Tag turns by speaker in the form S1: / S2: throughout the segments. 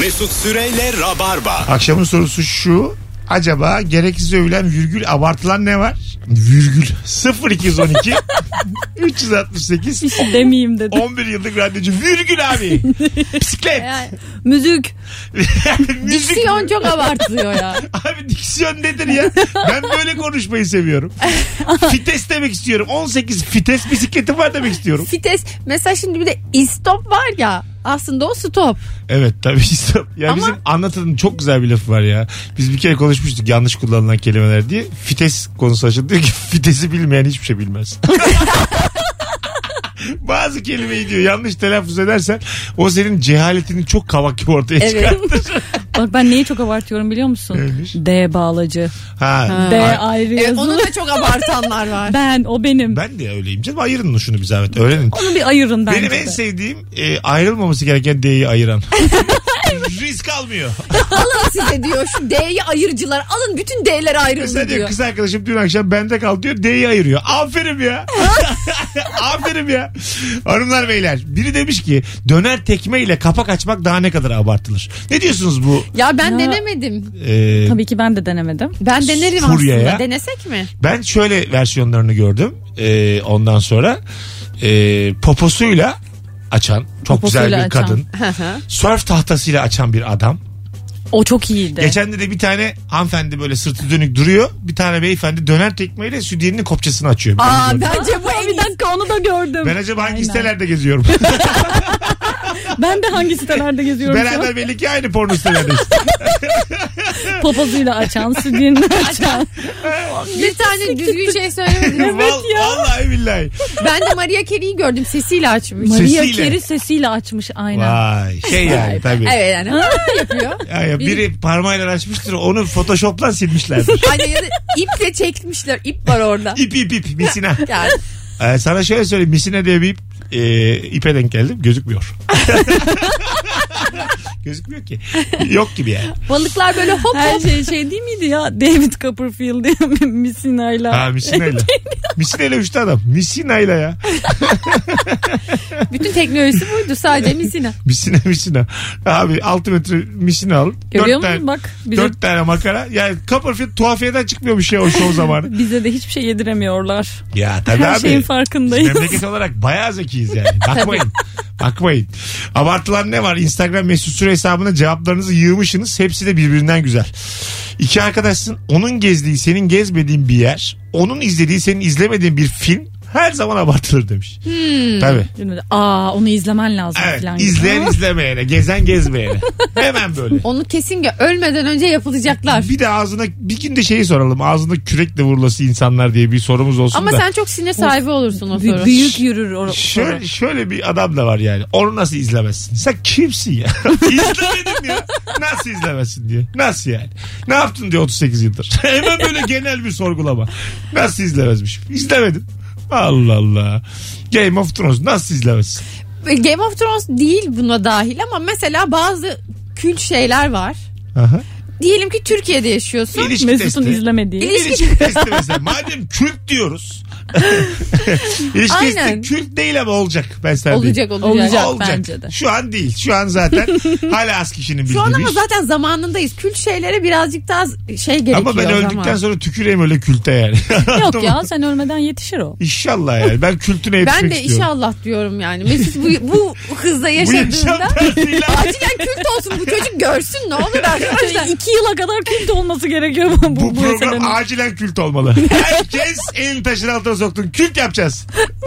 S1: Mesut Süreyle Rabarba.
S2: Akşamın sorusu şu. Acaba gereksiz övülen virgül abartılan ne var? Virgül 0212 368
S3: Hiç demeyeyim dedi.
S2: 11 yıllık radyocu virgül abi. Bisiklet.
S3: Yani, müzik.
S2: Müzik.
S3: Diksiyon çok abartılıyor ya.
S2: Abi diksiyon nedir ya? Ben böyle konuşmayı seviyorum. fites demek istiyorum. 18 fites bisikletim var demek istiyorum.
S3: Fites. Mesela şimdi bir de istop var ya. Aslında o stop.
S2: Evet tabii istop. Ya
S3: Ama-
S2: bizim anlatanın çok güzel bir lafı var ya. Biz bir kere konuşmuştuk yanlış kullanılan kelimeler diye. Fites konusu açıldı. Diyor ki fitesi bilmeyen hiçbir şey bilmez. Bazı kelimeyi diyor yanlış telaffuz edersen o senin cehaletini çok kavak gibi ortaya
S3: Evet.
S2: çıkartır.
S4: Bak ben neyi çok abartıyorum biliyor musun?
S2: Neymiş?
S4: D bağlacı.
S2: Ha.
S4: D
S2: Ay-
S4: ayrı
S3: E,
S4: yazılı.
S3: onu da çok abartanlar var.
S4: Ben o benim.
S2: Ben de öyleyim canım. Ayırın şunu bir zahmet. Öğrenin.
S4: Onu bir ayırın bence
S2: Benim en
S4: de.
S2: sevdiğim e, ayrılmaması gereken D'yi ayıran. Risk almıyor.
S3: alın size diyor şu D'yi ayırıcılar. Alın bütün D'ler
S2: Mesela
S3: ayrıldı
S2: diyor
S3: diyor.
S2: kız arkadaşım dün akşam bende kal diyor D'yi ayırıyor. Aferin ya. Aferin ya. Hanımlar beyler biri demiş ki döner tekme ile kapak açmak daha ne kadar abartılır. Ne diyorsunuz bu?
S3: Ya
S4: Ya.
S3: ben denemedim.
S2: e,
S4: Tabii ki ben de denemedim.
S3: Ben denerim
S2: Furya
S3: aslında.
S2: ya.
S3: Denesek mi?
S2: ben şöyle versiyonlarını gördüm. E, ondan sonra e, poposuyla açan çok
S4: Poposuyla
S2: güzel bir
S4: açan.
S2: kadın. Sörf tahtasıyla açan bir adam.
S4: O çok iyiydi.
S2: Geçen de de bir tane hanımefendi böyle sırtı dönük duruyor. Bir tane beyefendi döner tekmeyle sütyenin kopçasını açıyor.
S3: Aa
S2: ben...
S3: bence bu en
S4: bir dakika onu da gördüm.
S2: ben acaba hangi
S4: Aynen.
S2: sitelerde geziyorum?
S4: Ben de hangi sitelerde geziyorum şu an?
S2: Beraber belli ki aynı porno sitelerdeyiz.
S4: Popozuyla açan, sütyenini açan.
S3: Bir tane düzgün şey söylemediniz.
S2: Val- Vallahi billahi.
S3: ben de Maria Carey'i gördüm sesiyle açmış.
S4: Maria
S2: Sesiyle.
S4: Carey sesiyle açmış aynen.
S2: Vay şey yani tabii.
S3: Evet yani ha yapıyor.
S2: Ya, ya biri parmağıyla açmıştır onu photoshopla silmişlerdir.
S3: Aynen ya da iple çekmişler. İp var orada.
S2: İp ip ip misina.
S3: Yani
S2: Ee, sana şöyle söyleyeyim misina diye bir ip, e, ipe denk geldim gözükmüyor. gözükmüyor ki. Yok gibi yani.
S3: balıklar böyle hop
S4: Her
S3: hop.
S4: şey şey değil miydi ya? David Copperfield diye
S2: Ha
S4: Missina'yla.
S2: misinayla. misinayla uçtu adam. Misinayla ya.
S3: Bütün teknolojisi buydu sadece misina.
S2: Misina misina. Abi 6 metre misina al.
S4: Görüyor
S2: Dört tane-
S4: musun? Bak bize,
S2: Dört tane makara. Yani Copperfield tuhafiyeden çıkmıyormuş ya o show zamanı.
S4: bize de hiçbir şey yediremiyorlar.
S2: ya tabii
S4: Her
S2: abi.
S4: şeyin farkındayız.
S2: Memleket olarak bayağı zekiyiz yani. Bakmayın. Bakmayın. Abartılan ne var? Instagram mesut süre hesabına cevaplarınızı yığmışsınız. Hepsi de birbirinden güzel. İki arkadaşsın. Onun gezdiği senin gezmediğin bir yer. Onun izlediği senin izlemediğin bir film. Her zaman abartılır demiş.
S4: Hmm.
S2: Tabii.
S4: Aa onu izlemen lazım
S2: Evet.
S4: falan. gibi.
S2: İzleyen izlemeyene. Gezen gezmeyene. Hemen böyle.
S3: Onu kesin gö- ölmeden önce yapılacaklar.
S2: Bir de ağzına bir gün de şeyi soralım. Ağzında kürekle vurulası insanlar diye bir sorumuz olsun
S3: Ama
S2: da.
S3: sen çok sinir sahibi olursun o
S4: Bü-
S3: soru.
S4: büyük yürür o soru.
S2: Şöyle, şöyle bir adam da var yani. Onu nasıl izlemezsin? Sen kimsin ya? İzlemedim ya. Nasıl izlemezsin diye. Nasıl yani? Ne yaptın diye 38 yıldır. Hemen böyle genel bir sorgulama. Nasıl izlemezmiş? İzlemedim. Allah Allah. Game of Thrones nasıl izlemezsin?
S3: Game of Thrones değil buna dahil ama mesela bazı kült şeyler var.
S2: Aha.
S3: Diyelim ki Türkiye'de yaşıyorsun.
S2: İlişki
S4: Mesut'un
S2: testi.
S4: izlemediği.
S3: İlişki-
S2: İlişki testi mesela. Madem kült diyoruz. İlişki
S3: Aynen.
S2: testi kült değil ama olacak. Ben sana diyeyim.
S3: Olacak olacak.
S4: Olacak. bence de.
S2: Şu an değil. Şu an zaten hala az kişinin bildiği
S3: Şu an ama
S2: bir iş.
S3: zaten zamanındayız. Kült şeylere birazcık daha şey gerekiyor.
S2: Ama ben
S3: o zaman.
S2: öldükten sonra tüküreyim öyle külte yani. Anladın
S4: Yok
S2: mı?
S4: ya sen ölmeden yetişir o.
S2: İnşallah yani. Ben kültüne yetişmek
S3: Ben de
S2: istiyorum.
S3: inşallah diyorum yani. Mesut bu, bu hızda
S2: Bu yaşam
S3: yaşadığında
S2: tarzıyla
S3: acilen kült olsun bu çocuk görsün ne olur arkadaşlar.
S4: İki yıla kadar kült olması gerekiyor bu,
S2: bu
S4: bu,
S2: program
S4: meselenin.
S2: acilen kült olmalı. Herkes elini taşın altına soktun. Kült yapacağız.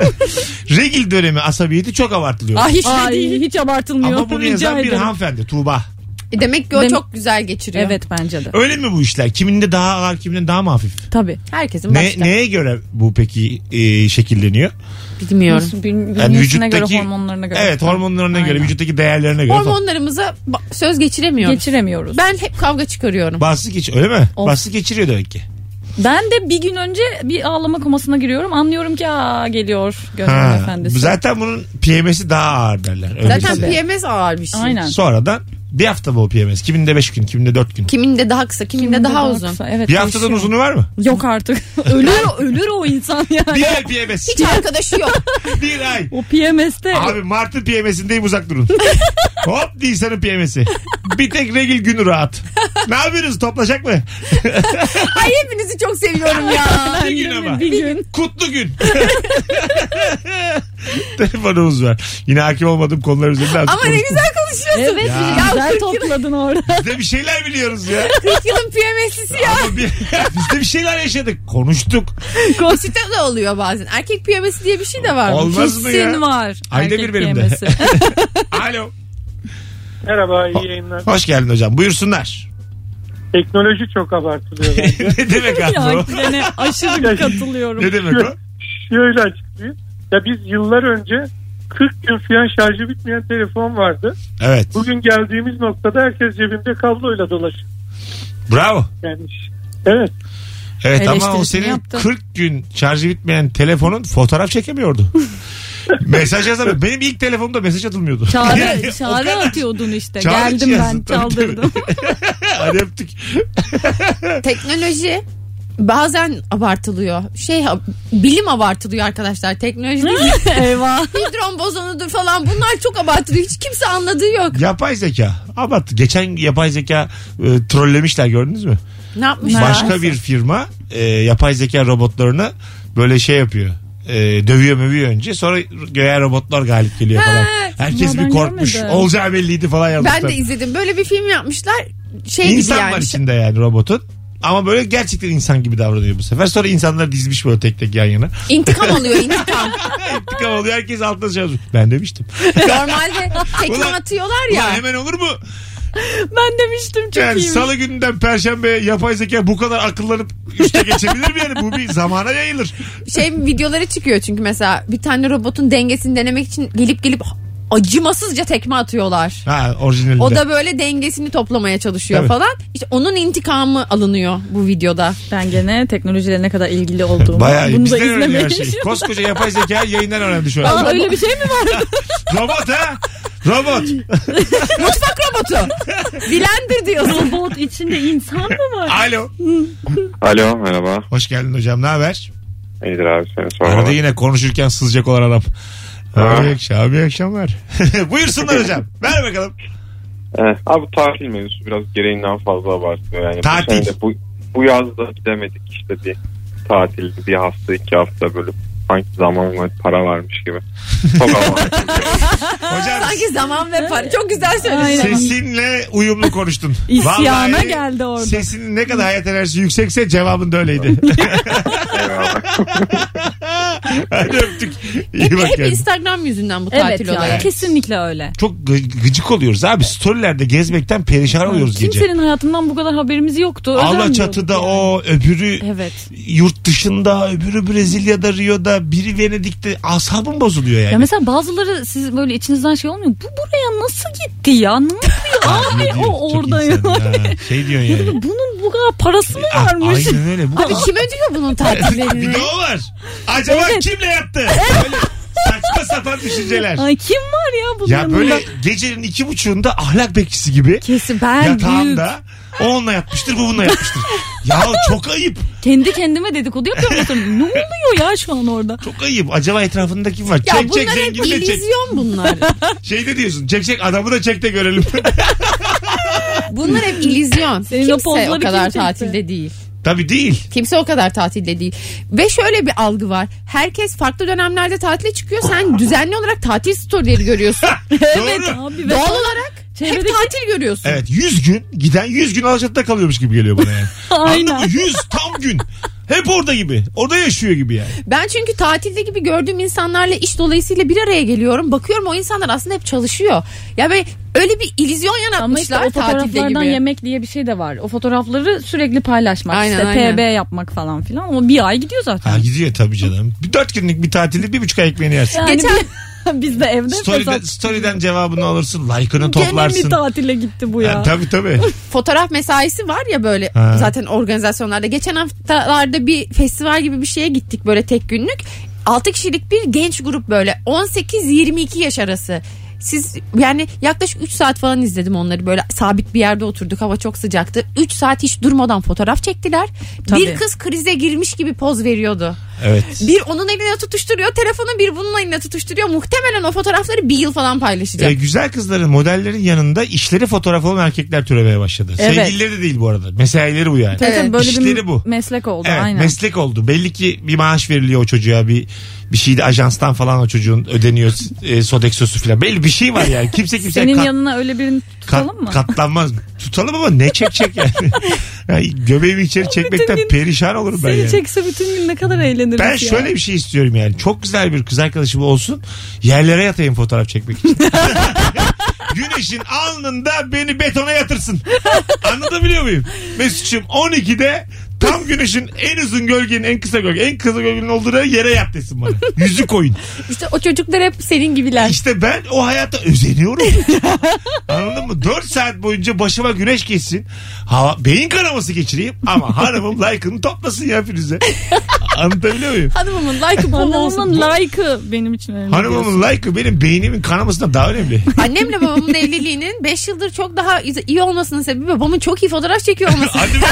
S2: Regil dönemi asabiyeti çok abartılıyor.
S3: Ah hiç de
S4: Ay,
S3: değil.
S4: hiç abartılmıyor.
S2: Ama bunu
S4: Rica
S2: yazan bir
S4: ederim.
S2: hanımefendi Tuğba.
S3: E Demek ki o
S4: Dem-
S3: çok güzel geçiriyor.
S4: Evet bence de.
S2: Öyle mi bu işler? Kiminde daha ağır kiminde daha mı hafif?
S4: Tabii.
S3: Herkesin
S2: Ne,
S3: başka.
S2: neye göre bu peki e, şekilleniyor?
S3: Bilmiyorum.
S4: Nasıl, bün-
S2: Yani
S4: Bünyesine göre hormonlarına göre.
S2: Evet hormonlarına göre
S4: Aynen.
S2: vücuttaki değerlerine göre. falan.
S3: Hormonlarımıza ba- söz geçiremiyoruz.
S4: Geçiremiyoruz.
S3: ben hep kavga çıkarıyorum.
S2: Bastı geç öyle mi?
S4: Of.
S2: Bastı geçiriyor demek ki.
S4: Ben de bir gün önce bir ağlama komasına giriyorum. Anlıyorum ki aa geliyor Gözlem
S2: Ha,
S4: Efendisi.
S2: zaten bunun PMS'i daha ağır derler. Öyle
S3: Zaten
S2: bize.
S3: PMS ağır bir şey.
S4: Aynen.
S2: Sonradan Bir hafta bol yemez. Kiminde 5 gün, kiminde 4 gün.
S3: Kiminde daha kısa, kiminde,
S4: Kimde
S3: daha, uzun.
S4: kısa, Evet,
S2: Bir haftadan
S4: değişiyor.
S2: uzunu var mı?
S4: Yok artık. ölür, ölür o insan yani.
S2: Bir ay PMS.
S3: Hiç arkadaşı yok.
S2: bir ay.
S4: O PMS'te
S2: Abi Mart'ın PMS'indeyim uzak durun. Hop Nisan'ın PMS'i. Bir tek Regil günü rahat. Ne yapıyorsunuz toplaşak mı?
S3: Ay hepinizi çok seviyorum ya.
S2: Bir gün ama.
S4: bir gün.
S2: Kutlu gün. Telefonumuz var. Yine hakim olmadığım konular üzerinde artık
S3: Ama ne
S2: konuştum.
S3: güzel konuşuyorsun.
S4: Evet
S2: Ya.
S4: bizi güzel
S3: kırk
S4: topladın orada.
S2: Biz de bir şeyler biliyoruz ya.
S3: yılın, 40 yılın PMS'lisi ya.
S2: Ama bir- Biz de bir şeyler yaşadık. Konuştuk.
S3: Mesut'ta da oluyor bazen. Erkek PMS'i diye bir şey de var.
S2: Olmaz mı ya?
S4: Kesin var.
S2: Ayda
S4: erkek
S2: bir benim de.
S4: PMS'i.
S2: Alo.
S5: Merhaba iyi yayınlar.
S2: Hoş geldin hocam. Buyursunlar.
S5: Teknoloji çok abartılıyor. bence.
S2: ne demek abi
S4: ya
S2: o?
S4: yani aşırı katılıyorum.
S2: Ne demek o?
S5: Şöyle açıklayayım. Ya biz yıllar önce 40 gün falan şarjı bitmeyen telefon vardı.
S2: Evet.
S5: Bugün geldiğimiz noktada herkes cebinde kabloyla dolaşıyor.
S2: Bravo.
S5: Yani ş- evet.
S2: Evet ama o
S4: Eleştirisini
S2: senin
S4: yaptı.
S2: 40 gün şarjı bitmeyen telefonun fotoğraf çekemiyordu. mesaj yazamıyor. Benim ilk telefonumda mesaj atılmıyordu. Yani
S4: Çağrı,
S2: o
S4: çağrı
S2: kadar-
S4: atıyordun işte.
S2: Çağrı
S4: Geldim
S2: yazdın,
S4: ben
S2: tabii, tabii.
S4: çaldırdım.
S2: Hadi öptük.
S3: Teknoloji bazen abartılıyor. Şey bilim abartılıyor arkadaşlar. Teknoloji değil.
S4: Eyvah.
S3: Hidron bozonudur falan. Bunlar çok abartılıyor. Hiç kimse anladığı yok.
S2: Yapay zeka. Abarttı. Geçen yapay zeka e, trollemişler gördünüz mü?
S3: Ne yapmışlar?
S2: Başka bir firma e, yapay zeka robotlarını böyle şey yapıyor. E, dövüyor mövüyor önce sonra göğe robotlar galip geliyor falan. Herkes
S4: bunlar
S2: bir
S4: ben
S2: korkmuş.
S4: görmedim.
S2: Olacağı belliydi falan yazmışlar.
S3: Ben de izledim. Böyle bir film yapmışlar. Şey
S2: İnsan
S3: gibi yani.
S2: var içinde yani robotun. Ama böyle gerçekten insan gibi davranıyor bu sefer. Sonra insanlar dizmiş böyle tek tek yan yana.
S3: İntikam alıyor intikam.
S2: İntikam oluyor herkes altına şey yazmış. Ben demiştim.
S3: Normalde tekme
S2: Ulan-
S3: atıyorlar
S2: Ya
S3: ya.
S2: hemen olur mu?
S4: Ben demiştim çok
S2: Yani
S4: iyiymiş.
S2: salı gününden perşembeye yapay zeka bu kadar akıllanıp üste geçebilir mi yani? Bu bir zamana yayılır.
S3: Şey videoları çıkıyor çünkü mesela bir tane robotun dengesini denemek için gelip gelip acımasızca tekme atıyorlar.
S2: Ha orijinalinde.
S3: O da böyle dengesini toplamaya çalışıyor
S2: Tabii.
S3: falan. İşte onun intikamı alınıyor bu videoda.
S4: Ben gene teknolojiyle ne kadar ilgili olduğumu
S2: Bayağı iyi.
S4: bunu da
S2: Bizden öğreniyor
S4: izlemeye
S2: her şey. şeyi. Koskoca yapay zeka yayından öğrendi şu an.
S4: Aa, öyle bir şey mi var?
S2: Robot ha? Robot.
S3: Mutfak robotu. Blender diyorsun.
S4: Robot içinde insan mı var?
S2: Alo.
S6: Alo merhaba.
S2: Hoş geldin hocam ne haber?
S6: İyidir abi seni
S2: Arada
S6: sormalı.
S2: yine konuşurken sızacak olan adam.
S6: Ha.
S2: Abi, iyi akşam- abi iyi akşamlar. Buyursunlar hocam. Ver bakalım.
S6: Evet. Eh, Abi bu tatil mevzusu biraz gereğinden fazla abartıyor. Yani bu
S2: Tatil.
S6: sene de Bu, bu, yaz da gidemedik işte bir tatil bir hafta iki hafta böyle sanki zaman ve para varmış gibi. Çok abartıyor.
S2: Hocam
S3: Sanki zaman ve para. Çok güzel söyledin.
S4: Aynen.
S2: sesinle uyumlu konuştun.
S4: İsyana
S2: Vallahi
S4: geldi orada.
S2: Sesinin ne kadar hayat enerjisi yüksekse cevabın da öyleydi. Hadi öptük. İyi
S3: Hep,
S2: bak
S3: hep
S2: kendine.
S3: Instagram yüzünden bu
S4: Evet
S3: tatil
S4: ya
S3: olayı.
S4: kesinlikle öyle.
S2: Çok gı- gıcık oluyoruz abi. Storylerde gezmekten perişan oluyoruz gece.
S4: Kimsenin hayatından bu kadar haberimiz yoktu.
S2: Allah
S4: Özenmiyorduk
S2: çatıda
S4: yani.
S2: o öbürü
S4: Evet.
S2: yurt dışında öbürü Brezilya'da Rio'da biri Venedik'te asabım bozuluyor yani.
S4: Ya mesela bazıları siz böyle içinizden şey olmuyor. Bu buraya nasıl gitti ya? Ne
S2: Aa, ne
S4: yapıyor abi?
S2: diyor?
S4: O
S2: Çok
S4: orada
S2: insan
S4: ya.
S2: ya. Şey diyorsun yani.
S4: Bunun bu kadar parası mı
S2: Ah,
S4: varmış?
S2: Aynen öyle. Bu
S3: Abi kim ödüyor E bunun tatillerini?
S2: Bir de o var. Acaba
S4: Evet.
S2: kimle yattı? Böyle saçma sapan düşünceler.
S4: Ay kim var ya bunun
S2: Ya
S4: yanında?
S2: böyle gecenin iki buçuğunda ahlak bekçisi gibi
S4: Kesin ben büyük.
S2: yatağında o onunla yatmıştır bu bununla yatmıştır. ya çok ayıp.
S4: Kendi kendime dedikodu yapıyorum. Oturuyorum. ne oluyor ya şu an orada?
S2: Çok ayıp. Acaba etrafında kim var?
S3: Ya
S2: çek çek
S3: bunlar hep
S2: zengin de çek.
S3: illüzyon bunlar.
S2: Şey de diyorsun çek çek adamı da çek de görelim.
S3: Bunlar hep illüzyon.
S4: Senin o
S3: Kimse o
S4: pozları kim
S3: kadar
S4: çekti?
S3: tatilde değil.
S2: Tabii değil.
S3: Kimse o kadar tatilde değil. Ve şöyle bir algı var. Herkes farklı dönemlerde tatile çıkıyor. Sen düzenli olarak tatil storyleri görüyorsun.
S2: Doğru.
S4: Abi ve-
S3: Doğal olarak hep
S4: Çevredeki-
S3: tatil görüyorsun.
S2: Evet 100 gün giden 100 gün Alçatı'da kalıyormuş gibi geliyor bana yani.
S4: Aynen.
S2: Anladın mı? 100 tam gün. Hep orada gibi. Orada yaşıyor gibi yani.
S3: Ben çünkü tatilde gibi gördüğüm insanlarla iş dolayısıyla bir araya geliyorum. Bakıyorum o insanlar aslında hep çalışıyor. Ya ve öyle bir illüzyon
S4: Ama işte
S3: yaratmışlar
S4: o
S3: tatilde
S4: fotoğraflardan
S3: gibi.
S4: yemek diye bir şey de var. O fotoğrafları sürekli paylaşmak
S3: Aynen,
S4: işte
S3: aynen.
S4: TB yapmak falan filan. Ama bir ay gidiyor zaten.
S2: Ha gidiyor tabii canım. Bir dört günlük bir tatilde bir buçuk ay ekmeğini yersin.
S4: Yani
S3: Geçen-
S4: bir- biz de evde
S2: Story'den,
S4: fesat.
S2: story'den cevabını alırsın. Like'ını
S4: Gene mi
S2: toplarsın.
S4: tatile gitti bu
S2: Ha,
S4: ya?
S2: tabii tabii.
S3: Fotoğraf mesaisi var ya böyle
S2: Ha.
S3: zaten organizasyonlarda. Geçen haftalarda bir festival gibi bir şeye gittik böyle tek günlük. 6 kişilik bir genç grup böyle 18-22 yaş arası. siz yani yaklaşık 3 saat falan izledim onları böyle sabit bir yerde oturduk hava çok sıcaktı. 3 saat hiç durmadan fotoğraf çektiler.
S4: Tabii.
S3: Bir kız krize girmiş gibi poz veriyordu.
S2: Evet.
S3: Bir onun eline tutuşturuyor telefonu bir bunun eline tutuşturuyor. Muhtemelen o fotoğrafları bir yıl falan paylaşacak.
S2: E, güzel kızların, modellerin yanında işleri fotoğraf olan erkekler türemeye başladı.
S4: Evet.
S2: Sevgilileri de değil bu arada. Mesaileri bu yani.
S4: Tabii
S3: Evet.
S4: tabii böyle
S2: İşleri
S4: bir
S2: bu.
S4: meslek oldu
S2: Evet,
S4: aynen.
S2: meslek oldu. Belli ki bir maaş veriliyor o çocuğa. Bir bir şey de ajanstan falan o çocuğun ödeniyor e, sodexosu falan. Belli bir şey var yani. Kimse kimse
S4: Senin yanına öyle birini tutalım mı?
S2: katlanmaz. Tutalım ama ne çekecek yani? yani göbeğimi içeri çekmekten
S4: gün
S2: perişan olurum ben
S4: Seni
S2: yani.
S4: çekse bütün gün ne kadar eğleniriz
S2: Ben
S4: ya.
S2: şöyle bir şey istiyorum yani. Çok güzel bir kız arkadaşım olsun. Yerlere yatayım fotoğraf çekmek için. Güneşin alnında beni betona yatırsın. Anlatabiliyor muyum? Mesut'cum 12'de tam güneşin en uzun gölgenin en kısa gölge en kısa gölgenin olduğu yere yat desin bana. Yüzü koyun.
S3: İşte o çocuklar hep senin gibiler.
S2: İşte ben o hayata özeniyorum. Anladın mı? 4 saat boyunca başıma güneş geçsin. Hava, beyin kanaması geçireyim ama hanımım like'ını toplasın ya Firuze. Anlatabiliyor muyum?
S3: Hanımımın like'ı bol olsun.
S4: Hanımın like'ı benim için önemli.
S2: Hanımımın like'ı benim beynimin kanamasından daha önemli.
S3: Annemle babamın evliliğinin 5 yıldır çok daha iz- iyi olmasının sebebi babamın çok iyi fotoğraf çekiyor olması.
S2: Hadi be.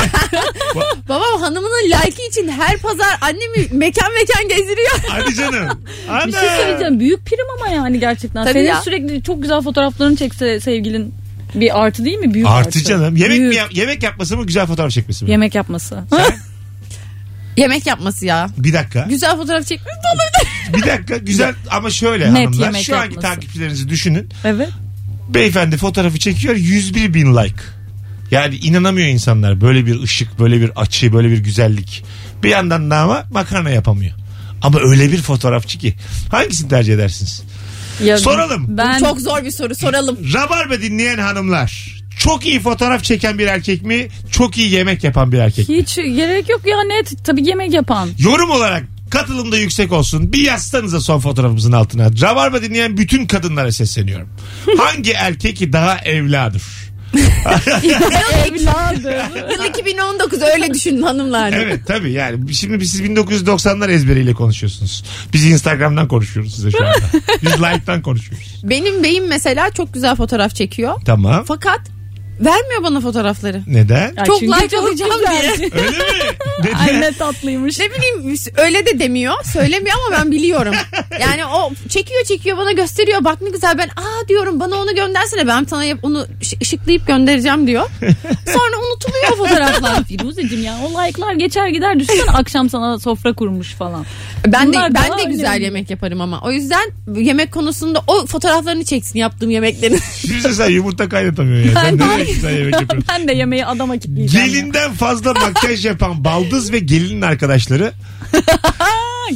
S3: Babam hanımının like'ı için her pazar annemi mekan mekan gezdiriyor.
S2: Hadi canım. Ana.
S4: Bir şey söyleyeceğim. Büyük prim ama yani gerçekten.
S3: Tabii
S4: Senin
S3: ya.
S4: sürekli çok güzel fotoğraflarını çekse sevgilin bir artı değil mi? Büyük artı.
S2: Artı canım. Yemek
S4: Büyük.
S2: mi yap- yemek yapması mı güzel fotoğraf çekmesi mi?
S4: Yemek yapması.
S3: Yemek yapması ya.
S2: Bir dakika.
S3: Güzel fotoğraf çekmiş de olabilir.
S2: Bir dakika. Güzel ama şöyle
S4: Net
S2: hanımlar.
S4: yemek
S2: Şu anki
S4: yapması.
S2: takipçilerinizi düşünün.
S4: evet.
S2: Beyefendi fotoğrafı çekiyor 101 bin like. Yani inanamıyor insanlar böyle bir ışık, böyle bir açı, böyle bir güzellik. Bir yandan da ama makarna yapamıyor. Ama öyle bir fotoğrafçı ki. Hangisini tercih edersiniz?
S4: Ya
S2: Soralım.
S4: Ben
S3: Çok zor bir soru soralım.
S2: Rabarba dinleyen hanımlar. Çok iyi fotoğraf çeken bir erkek mi? Çok iyi yemek yapan bir erkek mi?
S4: hiç gerek yok ya net. Tabii yemek yapan.
S2: Yorum olarak katılım da yüksek olsun. Bir yazsanıza son fotoğrafımızın altına. Rabarba dinleyen bütün kadınlara sesleniyorum. Hangi erkek ki daha evladır?
S4: Evladım.
S3: Yıl 2019 öyle düşünün hanımlar.
S2: Evet tabii yani. Şimdi siz 1990'lar ezberiyle konuşuyorsunuz. Biz Instagram'dan konuşuyoruz size şu anda. Biz like'tan konuşuyoruz.
S3: Benim beyim mesela çok güzel fotoğraf çekiyor.
S2: Tamam.
S3: Fakat vermiyor bana fotoğrafları.
S2: Neden?
S4: Ay,
S3: Çok
S4: çünkü
S3: like alacağım
S4: güzel.
S2: Öyle mi? Neden?
S4: Ay ne tatlıymış.
S3: Ne bileyim öyle de demiyor söylemiyor ama ben biliyorum. Yani o çekiyor çekiyor bana gösteriyor bak ne güzel ben aa diyorum bana onu göndersene ben sana yap- onu ış- ışıklayıp göndereceğim diyor. Sonra unutuluyor fotoğraflar.
S4: Firuzeciğim ya o like'lar geçer gider düşünsene akşam sana sofra kurmuş falan.
S3: Ben de
S4: Bunlar
S3: ben
S4: daha
S3: de güzel
S4: önemli.
S3: yemek yaparım ama. O yüzden yemek konusunda o fotoğraflarını çeksin yaptığım yemeklerin.
S2: Firuze sen yumurta kaynatamıyorsun ya. E Sen
S4: Ben-
S2: nereye güzel yemek yapıyorsun?
S4: Ben de yemeği adama kilitleyeceğim. ya.
S2: Gelinden fazla makyaj yapan baldız ve gelinin arkadaşları.
S4: Ha,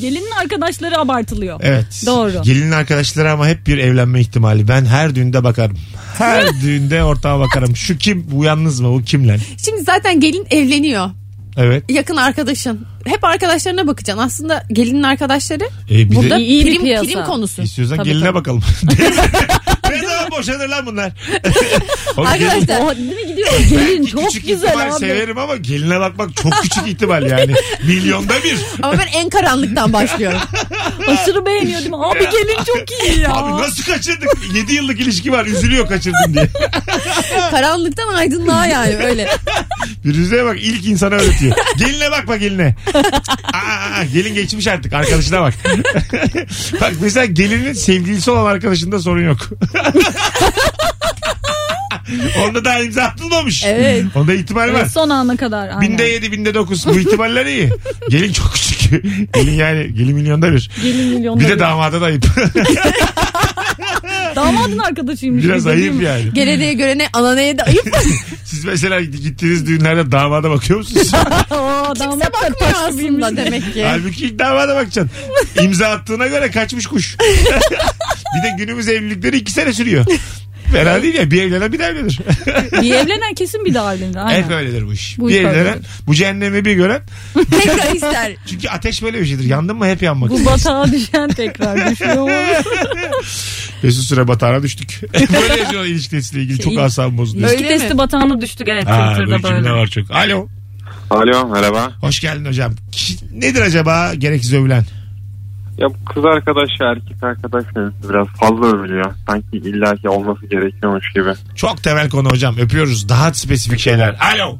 S4: gelinin arkadaşları abartılıyor.
S2: Evet.
S4: Doğru.
S2: Gelinin arkadaşları ama hep bir evlenme ihtimali. Ben her düğünde bakarım. Her düğünde ortağa bakarım. Şu kim? Bu yalnız mı? Bu kim lan?
S3: Şimdi zaten gelin evleniyor.
S2: Evet.
S3: Yakın arkadaşın. Hep arkadaşlarına bakacaksın. Aslında gelinin arkadaşları
S2: Ee, bir
S3: burada
S2: de
S4: İyi- iyi bir
S3: prim,
S4: piyasa.
S3: prim konusu.
S2: istiyorsan
S4: Tabii,
S2: geline
S4: tabii.
S2: bakalım. ne zaman boşanır lan bunlar? Oğlum gelin-
S3: Arkadaşlar
S4: O değil mi gidiyor? Gelin
S2: Belki
S4: çok
S2: küçük
S4: güzel
S2: ihtimal
S4: abi.
S2: severim ama geline bakmak çok küçük ihtimal yani. Milyonda bir.
S3: ama ben en karanlıktan başlıyorum.
S4: Aşırı beğeniyordum. Abi gelin çok iyi ya.
S2: Abi nasıl kaçırdık? 7 yıllık ilişki var üzülüyor kaçırdım diye.
S3: karanlıktan aydınlığa yani öyle.
S2: Firuze'ye bak ilk insana öğretiyor. Geline bakma geline. Aa, Aa, gelin geçmiş artık arkadaşına bak. bak mesela gelinin sevgilisi olan arkadaşında sorun yok. Onda daha imza atılmamış.
S3: Evet.
S2: Onda ihtimal var.
S4: Evet, son ana kadar. Aynen.
S2: Binde yedi, binde dokuz. Bu ihtimaller iyi. Gelin çok küçük. Gelin yani gelin milyonda bir.
S4: Gelin milyonda.
S2: Bir de damada da ayıp.
S4: Damadın arkadaşıymış.
S2: Biraz
S4: bir de değil
S2: ayıp
S4: mi?
S2: yani.
S3: Gelene görene ananeye de ayıp.
S2: Siz mesela gittiğiniz düğünlerde damada bakıyor musunuz?
S4: Aa,
S3: Kimse
S4: damat da
S3: bakmıyor
S4: taşlı
S3: aslında
S4: biriymiş.
S3: demek ki.
S2: Halbuki ilk damada bakacaksın. İmza attığına göre kaçmış kuş. bir de günümüz evlilikleri iki sene sürüyor. Fena değil ya bir evlenen bir de evlenir.
S4: Bir evlenen kesin bir daha evlenir. Aynen.
S2: Hep öyledir bu iş.
S4: Bu
S2: bir
S4: iş
S2: evlenen
S4: öyledir.
S2: bu cehennemi bir gören.
S3: Tekrar ister.
S2: Çünkü ateş böyle bir şeydir. Yandın mı hep yanmak.
S4: Bu batağa düşen tekrar düşüyor.
S2: Mesut Süre batağına düştük. böyle yaşıyorlar ilişkisiyle ilgili. Çok
S4: İyi.
S2: asabım bozuldu.
S3: Öyle
S4: İlişki
S3: mi?
S4: testi batağına düştük evet.
S2: Ha,
S4: Twitter'da
S2: böyle cümle
S4: böyle.
S2: var çok. Alo.
S6: Alo merhaba.
S2: Hoş geldin hocam. Ki- Nedir acaba gereksiz övülen?
S6: Ya bu kız arkadaş ya erkek arkadaş mevzusu biraz fazla övülüyor. Sanki illaki olması gerekiyormuş gibi.
S2: Çok temel konu hocam. Öpüyoruz. Daha spesifik şeyler. Alo.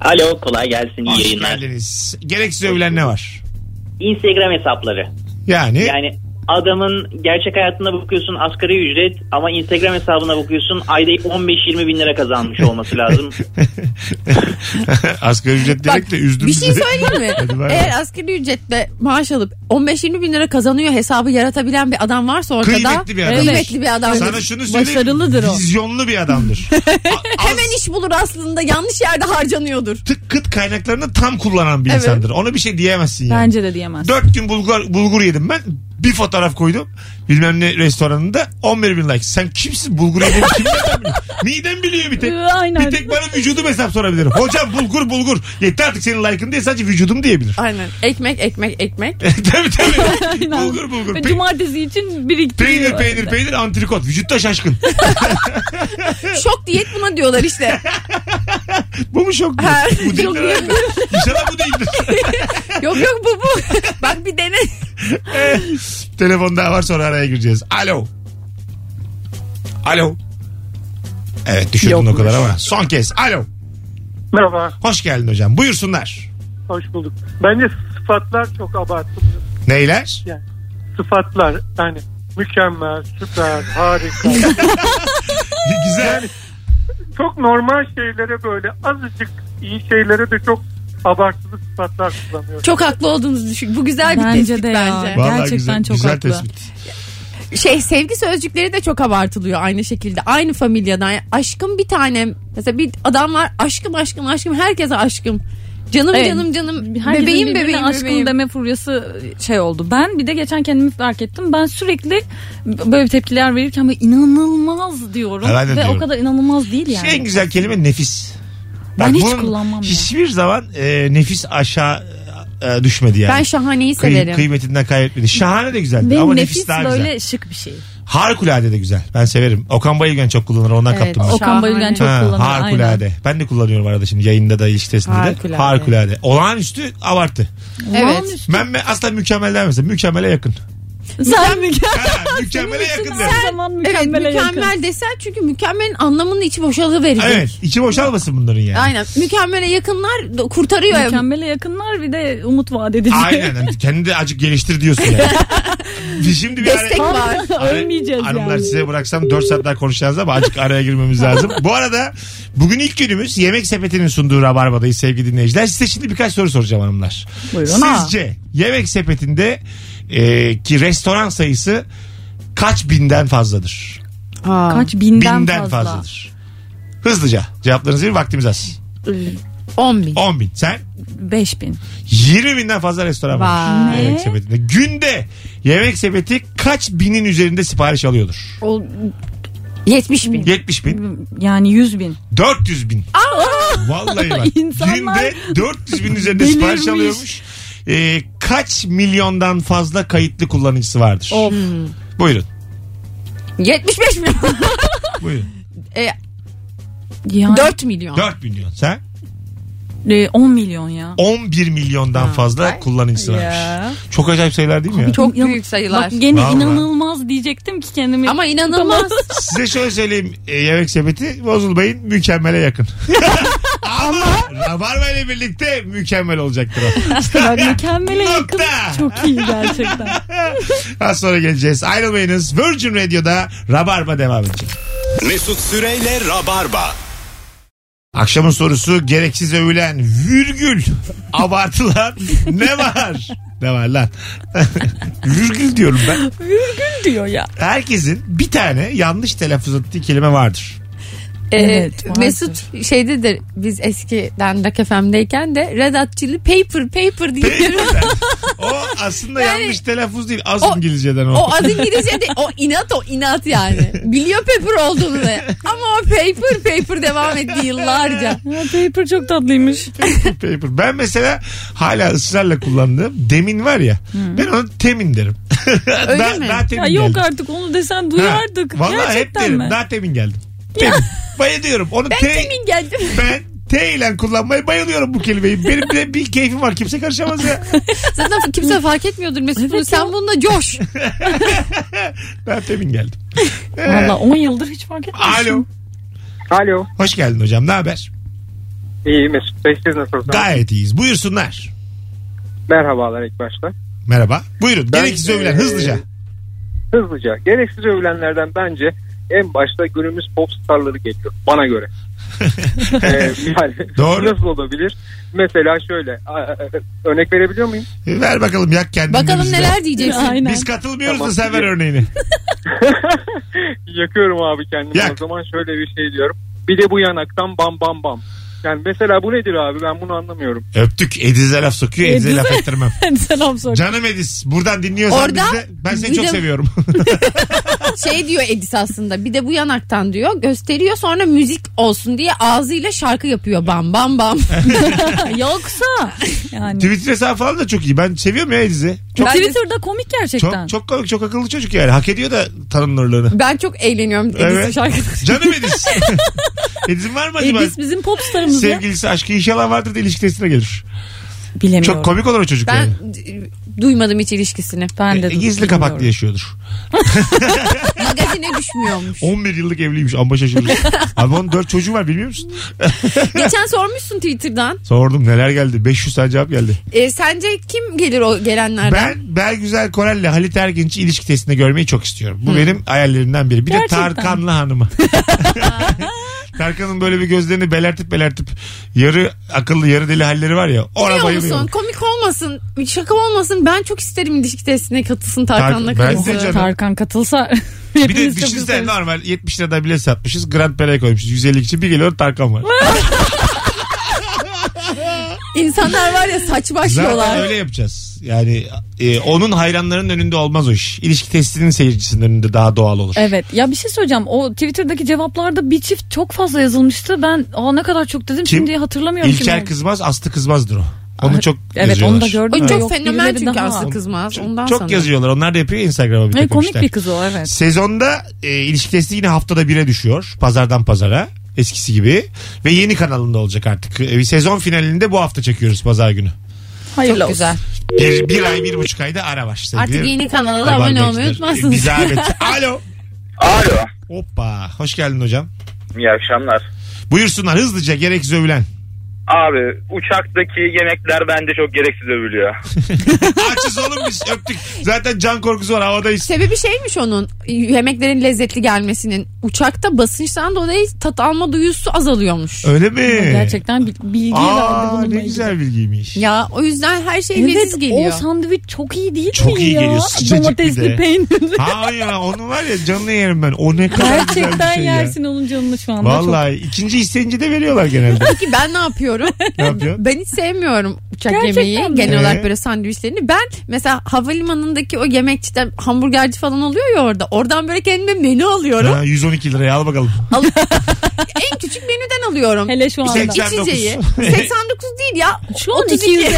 S7: Alo kolay gelsin iyi
S2: Hoş
S7: yayınlar.
S2: geldiniz. Gereksiz övülen ne var?
S7: Instagram hesapları.
S8: E?
S2: Yani,
S7: Yani adamın gerçek hayatına bakıyorsun asgari ücret ama Instagram hesabına bakıyorsun ayda 15-20 bin lira kazanmış olması lazım.
S2: asgari ücret demek de üzdüm
S3: bir şey
S2: sizi.
S3: söyleyeyim mi?
S2: Hadi bay bay.
S3: Eğer asgari ücretle maaş alıp 15-20 bin lira kazanıyor hesabı yaratabilen bir adam varsa ortada.
S2: Kıymetli bir adam.
S3: Kıymetli bir adam.
S2: Sana şunu söyleyeyim.
S4: Başarılıdır o.
S2: Vizyonlu bir adamdır. A- az-
S3: Hemen iş bulur aslında yanlış yerde harcanıyordur.
S2: tık kıt kaynaklarını tam kullanan bir
S3: Evet.
S2: insandır. Ona bir şey diyemezsin yani.
S4: Bence de diyemez.
S2: Dört gün bulgur, bulgur yedim ben. Bir fotoğraf koydum. Bilmem ne restoranında 11 bin like. Sen kimsin bulgur yedim? Kim nereden biliyor? Midem biliyor bir tek.
S4: Ee, aynen.
S2: Bir tek bana vücudum hesap sorabilir. Hocam bulgur bulgur. Yeter artık senin like'ın diye sadece vücudum diyebilir.
S3: Aynen. Ekmek ekmek ekmek.
S2: tabii tabii.
S4: Aynen.
S2: bulgur bulgur.
S4: Ve
S2: Pe-
S4: Cumartesi için biriktiriyor.
S2: peynir peynir peynir antrikot. Vücutta şaşkın.
S3: Şok diyet buna diyorlar işte.
S2: bu mu şok?
S3: Ha,
S2: bu
S3: çok
S2: değildir.
S3: iyi.
S2: herhalde. İnşallah bu değildir.
S3: yok yok bu bu. Bak bir dene.
S2: Telefon daha var sonra araya gireceğiz. Alo. Alo. Evet düşürdün o kadar ama. Son kez. Alo.
S5: Merhaba,
S2: Hoş geldin hocam. Buyursunlar.
S5: hoş bulduk. Bence sıfatlar çok abartılıyor.
S2: Neyler?
S5: Sıfatlar yani mükemmel, süper, harika.
S2: Güzel.
S5: çok normal şeylere böyle azıcık iyi şeylere de çok abartılı sıfatlar kullanıyor.
S3: Çok haklı olduğunuzu düşün. Bu güzel bir
S4: Bence
S3: tespit
S4: de ya.
S3: bence.
S2: Vallahi
S4: Gerçekten
S2: güzel,
S4: çok
S2: güzel
S4: haklı.
S2: tespit.
S3: Şey sevgi sözcükleri de çok abartılıyor aynı şekilde. Aynı familyadan. Yani aşkım bir tanem. Mesela bir adam var aşkım aşkım aşkım herkese aşkım. Canım
S4: Evet.
S3: canım canım.
S4: Herkesin
S3: bebeğim
S4: birbirine
S3: bebeğim
S4: aşkım
S3: bebeğim.
S4: deme furyası şey oldu. Ben bir de geçen kendimi fark ettim. Ben sürekli böyle tepkiler verirken böyle inanılmaz diyorum.
S2: Ha, ben de
S4: Ve
S2: diyorum.
S4: o kadar inanılmaz değil yani.
S2: Şey, En güzel kelime nefis.
S4: Ben hiç
S2: bunun
S4: kullanmam ya.
S2: Hiçbir zaman e, nefis aşağı e, düşmedi yani.
S3: Ben şahaneyi
S2: Kıy-
S3: severim.
S2: kıymetinden kaybetmedi. Şahane de güzeldi
S4: Ve
S2: ama nefis,
S4: nefis
S2: daha
S4: böyle
S2: güzel.
S4: şık bir şey.
S2: Harikulade de güzel. Ben severim. Okan Bayülgen çok kullanır. Ondan
S3: Evet,
S2: kaptım. ben.
S3: Şahane.
S4: Okan Bayülgen çok
S2: Ha,
S4: kullanıyor.
S2: Harikulade. Ben de kullanıyorum arada şimdi yayında da ilişkisinde de.
S3: Harikulade.
S2: Harikulade. Olağanüstü abartı.
S4: Aynen.
S3: Evet.
S4: Olağanüstü.
S2: Ben me- asla mükemmel demezsem mükemmele yakın.
S4: Sen mükemmel.
S2: Ha, mükemmele yakın derim.
S4: Her zaman
S3: Evet
S4: mükemmele
S3: mükemmel
S4: yakın.
S3: desen çünkü mükemmelin anlamını içi boşalı verecek.
S2: Evet. içi boşalmasın bunların yani.
S3: Aynen. Mükemmele yakınlar da kurtarıyor. ev.
S4: Mükemmele yakınlar bir de umut vaat edici.
S2: Aynen. Yani Kendi de acık geliştir diyorsun yani. Biz şimdi bir
S3: Destek
S2: ara-
S3: var.
S2: Ara-
S4: Ölmeyeceğiz
S2: Hani Hanımlar
S4: yani.
S2: size bıraksam 4 saat daha konuşacağız ama acık araya girmemiz lazım. Bu arada bugün ilk günümüz Yemek Sepeti'nin sunduğu Rabarba'dayız sevgili dinleyiciler. Size şimdi birkaç soru soracağım hanımlar.
S4: Buyurun. Ha.
S2: Sizce Yemek Sepeti'nde e, ki restoran sayısı kaç binden fazladır?
S4: Kaç binden,
S2: binden
S4: fazla.
S2: fazladır. Hızlıca cevaplarınızı bir vaktimiz az.
S3: 10 bin.
S2: 10 bin. Sen
S4: 5000.
S2: 20 binden fazla restoran var.
S3: Vay.
S2: Yemek sepetinde. Günde yemek sepeti kaç binin üzerinde sipariş alıyordur?
S3: 70 bin.
S2: 70 bin.
S4: Yani 100 bin.
S2: 400 bin. Vallahi bak.
S4: İnsanlar
S2: Günde 400 bin üzerinde
S4: delirmiş.
S2: sipariş alıyormuş. Ee, kaç milyondan fazla kayıtlı kullanıcısı vardır?
S4: Of.
S2: Buyurun.
S3: 75 Hmm. milyon.
S2: Buyurun.
S4: Yani
S3: 4 milyon.
S2: 4 milyon. Sen
S4: e, 10 milyon ya.
S2: 11 milyondan fazla kullanıcısı varmış. Çok acayip şeyler değil mi ya?
S3: Çok
S4: Ya-
S3: büyük sayılar.
S4: Bak gene
S2: Vallahi.
S4: inanılmaz diyecektim ki kendimi.
S3: Ama inanılmaz.
S2: Size şöyle söyleyeyim. e, yemek sepeti Bozul Bey'in mükemmele yakın. Ama Rabarba ile birlikte mükemmel olacaktır o.
S4: Bak mükemmele yakın.
S2: Nokta.
S4: Çok iyi gerçekten.
S2: Az sonra geleceğiz. Ayrılmayınız. Virgin Radio'da Rabarba devam edecek.
S1: Mesut Süreyle Rabarba.
S2: Akşamın sorusu gereksiz övülen virgül abartılan ne var? Ne var lan? virgül diyorum ben.
S4: diyor ya.
S2: Herkesin bir tane yanlış telaffuz ettiği kelime vardır.
S4: Evet,
S3: Ee,
S4: vardır.
S3: Mesut şeydedir biz eskiden Rock FM'deyken de Red Hot Chili Paper Paper diye
S2: Paper'den. o aslında yanlış telaffuz değil. Az
S3: O-
S2: İngilizceden o.
S3: O az İngilizce de o inat o inat yani. Biliyor paper olduğunu da. Ama o paper paper devam etti yıllarca.
S4: Ha, paper çok tatlıymış.
S2: Paper. Ben mesela hala ısrarla kullandığım demin var ya. Ben ona temin derim.
S3: Öyle
S2: daha,
S3: mi?
S2: daha temin
S4: Ya yok
S2: geldim.
S4: artık onu desen
S2: Ha,
S4: duyardık.
S2: Vallahi hep
S4: Gerçekten
S2: derim.
S4: mi?
S2: Daha temin geldim. Temin. Bayılıyorum. Onu
S3: Ben
S2: te-
S3: temin geldim.
S2: Ben T ile kullanmaya bayılıyorum bu kelimeyi. Benim bile bir keyfim var. Kimse karışamaz ya.
S3: Zaten kimse fark etmiyordur Mesut. bunu. Sen bununla coş.
S2: Ben temin geldim.
S4: Valla 10 yıldır hiç fark etmemişim.
S2: Alo.
S5: Alo.
S2: Hoş geldin hocam. Ne haber?
S5: İyi Mesut Bey siz nasılsınız?
S2: Gayet iyiyiz. Buyursunlar.
S5: Merhabalar ilk başta.
S2: Merhaba. Buyurun.
S5: Ben- e,
S2: Gereksiz övülen hızlıca.
S5: Hızlıca gereksiz övülenlerden bence en başta günümüz pop starları geliyor bana göre. Ee, yani
S2: Doğru.
S5: Nasıl olabilir? Mesela şöyle a- a- örnek verebiliyor muyum?
S2: Ver bakalım yak kendini.
S3: Bakalım
S2: bizde.
S3: neler diyeceksin.
S4: Aynen.
S2: Biz katılmıyoruz
S5: Tamam.
S2: da sen ver örneğini.
S5: Yakıyorum abi kendimi.
S2: Yak.
S5: O zaman şöyle bir şey diyorum. Bir de bu yanaktan bam bam bam. Yani mesela bu nedir abi ben bunu anlamıyorum.
S2: Öptük. Ediz'e laf sokuyor. Ediz'e
S4: Ediz'e.
S2: laf ettirmem.
S4: Selam sor.
S2: Canım Ediz. Buradan dinliyorsan
S3: Orada
S2: bizde. Ben seni
S3: bir
S2: çok
S3: de-
S2: seviyorum.
S3: Şey diyor Edis aslında bir de bu yanaktan diyor gösteriyor sonra müzik olsun diye ağzıyla şarkı yapıyor bam bam bam.
S4: Yoksa yani.
S2: Twitter hesabı falan da çok iyi. Ben seviyorum ya Ediz'i.
S4: Çok,
S3: Bence-
S4: Twitter'da komik gerçekten.
S2: Çok, çok komik, çok akıllı çocuk yani. Hak ediyor da tanınırlığını.
S3: Ben çok eğleniyorum Edis'in
S2: Evet.
S3: şarkısı.
S2: Canım Ediz. Ediz'in var mı acaba?
S4: Edis E, bizim popstarımız ya.
S2: Sevgilisi aşkı inşallah vardır da ilişkisine gelir.
S4: Bilemiyorum.
S2: Çok komik olur o çocuk yani.
S3: Ben d- duymadım hiç ilişkisini.
S4: Ben de
S2: E, Gizli
S4: bilmiyorum.
S2: kapaklı yaşıyordur.
S3: Magazine düşmüyormuş.
S2: 11 yıllık evliymiş amma şaşırırız. Abi onun 4 çocuğu var bilmiyor musun?
S3: Geçen sormuşsun Twitter'dan.
S2: Sordum neler geldi 500 tane cevap geldi.
S3: E, sence kim gelir o gelenlerden?
S2: Ben Belgüzel Korel'le Halit Ergenç'i ilişki testinde görmeyi çok istiyorum. Bu benim hayallerimden biri. Bir
S4: Hmm. Gerçekten.
S2: de Tarkan'la hanımı. Tarkan'ın böyle bir gözlerini belertip belertip yarı akıllı yarı deli halleri var ya. Ona
S3: Biliyor musun?
S2: bayılıyorum.
S3: Komik olmasın, şaka olmasın. Ben çok isterim ilişki testine katılsın Tarkan'la
S2: Tarkan- ben
S3: karısı.
S2: de canım.
S4: Tarkan katılsa
S2: Bir şey de
S4: hepimiz çok
S2: düşünsen
S4: isteriz.
S2: normal 70 lirada bilet satmışız. Grand Prix'e koymuşuz. 150 kişi bir geliyor Tarkan var.
S3: İnsanlar var ya saç başlıyorlar.
S2: Zaten öyle yapacağız. Yani e, onun hayranlarının önünde olmaz o iş. İlişki testinin seyircisinin önünde daha doğal olur.
S4: Evet ya bir şey söyleyeceğim o Twitter'daki cevaplarda bir çift çok fazla yazılmıştı ben aa ne kadar çok dedim
S2: Kim?
S4: şimdi hatırlamıyorum kim
S2: İlker
S4: oldu.
S2: kızmaz, Aslı kızmazdır o. Onu
S4: Ah,
S2: çok
S4: Evet onu
S2: yazıyorlar.
S4: da gördüm.
S3: O
S4: de
S3: çok
S4: yok,
S3: fenomen
S4: birileri
S3: çünkü
S4: daha.
S3: aslında kızmaz. Ondan
S2: çok
S3: sana.
S2: yazıyorlar. Onlar da yapıyor ya Instagram'a bir
S4: Ne
S2: takım
S4: komik
S2: işler.
S4: bir kız o evet.
S2: Sezonda e, ilişki testi yine haftada bire düşüyor. Pazardan pazara. Eskisi gibi. Ve yeni kanalında olacak artık. E, bir sezon finalinde bu hafta çekiyoruz pazar günü.
S4: Hayırlı
S3: Çok
S4: olsun.
S3: güzel.
S2: Bir, bir ay, bir buçuk ayda ara var. sevgili
S3: Artık yeni kanala da
S2: Rabarba
S3: abone olmayı
S2: dinleyiciler.
S3: unutmazsınız.
S2: Bir zahmet. Alo.
S9: Alo.
S2: Hoppa. Hoş geldin hocam.
S9: İyi akşamlar.
S2: Buyursunlar hızlıca gereksiz övülen.
S9: Abi uçaktaki yemekler bence çok gereksiz övülüyor.
S2: Açız oğlum biz öptük. Zaten can korkusu var havadayız.
S3: Sebebi şeymiş onun yemeklerin lezzetli gelmesinin. Uçakta basınçtan dolayı tat alma duyusu azalıyormuş.
S2: Öyle mi?
S4: Gerçekten bil- bilgi verdi
S2: Aa
S4: bununla
S2: ne
S4: ilgili.
S2: güzel bilgiymiş.
S3: Ya o yüzden her şey leziz
S4: Evet o
S3: geliyor.
S4: sandviç çok iyi değil
S2: Çok
S4: mi
S2: iyi
S4: ya?
S2: geliyor, sıcacık bir de.
S4: Domatesli peynirli.
S2: Ha ya onu var ya canlı yerim ben. O ne kadar güzel
S4: Gerçekten
S2: bir şey ya.
S4: yersin onun canını şu anda. Çok...
S2: Vallahi ikinci isteyince de veriyorlar genelde.
S3: Peki ben ne yapıyorum?
S2: ne yapıyorsun?
S3: ben hiç sevmiyorum uçak
S4: Gerçekten
S3: yemeği.
S4: mi?
S3: Genel
S2: Ee?
S3: olarak böyle sandviçlerini. Ben mesela havalimanındaki o yemekçide hamburgerci falan oluyor ya orada. Oradan böyle kendime menü alıyorum.
S2: Ha, 112 liraya al bakalım.
S3: En küçük menüden alıyorum.
S4: Hele şu anda.
S2: Seksen- 89.
S3: İçeceği. 89 değil ya.
S4: Şu an
S3: 32.
S4: 250.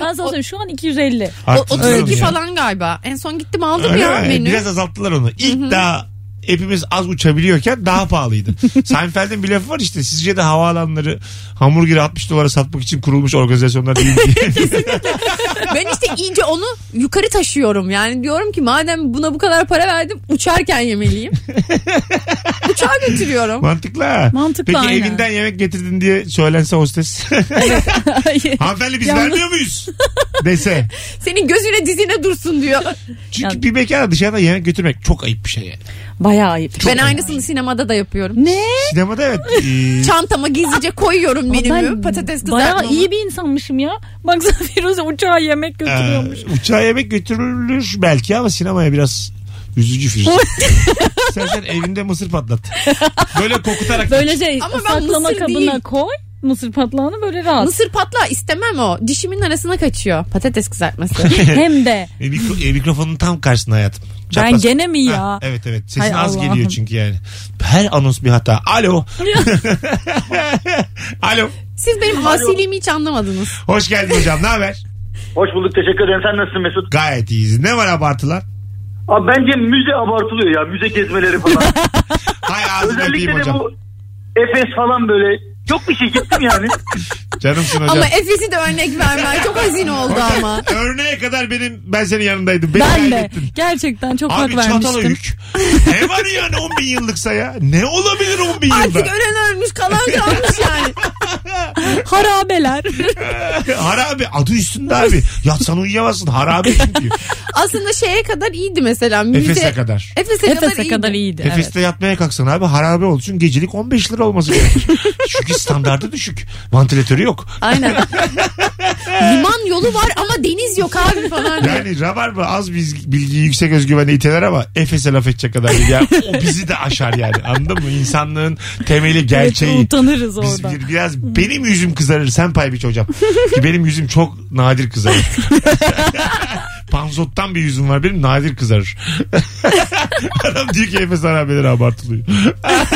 S4: ben sana söyleyeyim şu an 250.
S3: O,
S2: Arttırdılar onu
S3: 32
S2: ya.
S3: falan galiba. En son gittim aldım
S2: Öyle
S3: ya
S2: mi?
S3: menü.
S2: Biraz azalttılar onu. İlk daha hepimiz az uçabiliyorken daha pahalıydı. Seinfeld'in bir lafı var işte. Sizce de havaalanları hamburgeri 60 dolara satmak için kurulmuş organizasyonlar değil mi diye.
S3: Ben işte iyice onu yukarı taşıyorum. Yani diyorum ki madem buna bu kadar para verdim uçarken yemeliyim. Uçağa götürüyorum.
S2: Mantıklı ha.
S4: Mantıklı,
S2: Peki
S4: aynen.
S2: evinden yemek getirdin diye söylense hostes. Hanımefendi biz
S4: Yalnız-
S2: vermiyor muyuz? Dese.
S3: Senin gözüne dizine dursun diyor.
S2: Çünkü
S4: Ya-
S2: bir mekana dışarıdan yemek götürmek çok ayıp bir şey. yani.
S4: Bayağı ayıp.
S3: ben şey aynısını sinemada da yapıyorum.
S4: Ne?
S2: Sinemada evet. ee,
S3: Çantama gizlice koyuyorum menümü.
S4: Ben
S3: Patates kızartmamı.
S4: Bayağı iyi bir insanmışım ya. Baksana Firuze uçağa yemek götürüyormuş.
S2: Ee, uçağa yemek götürülür belki ama sinemaya biraz üzücü Firuze. sen sen evinde mısır patlat. Böyle kokutarak.
S4: Böylece
S3: Ama ben
S4: saklama
S3: mısır
S4: kabına
S3: değil.
S4: koy. Mısır patlağını böyle rahat.
S3: Mısır patla istemem o. Dişimin arasına kaçıyor. Patates kızartması.
S4: Hem de.
S2: E, mikro- e, mikrofonun tam karşısına hayatım.
S4: Ben
S2: Çapraz-
S4: gene mi ya?
S2: Ha, evet evet sesin
S4: Hay
S2: az
S4: Allah'ım.
S2: geliyor çünkü yani. Her anons bir hata. Alo. Alo.
S3: Siz benim asiliğimi hiç anlamadınız.
S2: Hoş geldin hocam ne haber?
S8: Hoş bulduk teşekkür ederim. Sen nasılsın Mesut?
S2: Gayet iyiyiz. Ne var abartılan?
S8: Abi bence müze abartılıyor ya. Müze gezmeleri falan.
S2: Hay ağzını öpeyim
S8: Özellikle de
S2: hocam.
S8: bu Efes falan böyle. Yok bir şey gittim yani.
S2: Canımsın hocam.
S3: Ama Efes'i de örnek vermen çok hazin oldu ama.
S2: Örneğe kadar benim ben senin yanındaydım. Beni
S4: Ben de
S2: kaybettin.
S4: gerçekten çok
S2: Abi
S4: hak
S2: çatala
S4: vermiştim.
S2: yük. ne var yani 10 bin yıllıksa ya? Ne olabilir 10 bin
S3: Artık
S2: yılda?
S3: ölen ölmüş kalan kalmış yani.
S4: Harabeler.
S2: harabe adı üstünde abi. Yatsan uyuyamazsın harabe çünkü.
S3: Aslında şeye kadar iyiydi mesela. Müze,
S2: Efes'e kadar.
S3: Efes'e, kadar
S4: Efes'e
S3: iyiydi.
S4: kadar iyiydi. evet.
S2: Efes'te yatmaya kalksan abi harabe olur. Çünkü gecelik 15 lira olması gerekir. çünkü standartı düşük. Vantilatörü yok.
S3: Aynen. Liman yolu var ama deniz yok abi falan. diye.
S2: Yani Rabarba az biz bilgiyi yüksek özgüvenle iteler ama Efes'e laf edecek kadar değil. Yani o bizi de aşar yani. Anladın mı? İnsanlığın temeli gerçeği.
S4: Evet, utanırız
S2: Biz
S4: orada.
S2: bir- biraz benim yüzüm kızarır sen pay biç hocam. Ki benim yüzüm çok nadir kızarır. Panzottan bir yüzüm var benim nadir kızarır. Adam diyor ki Efes harabeleri abartılıyor.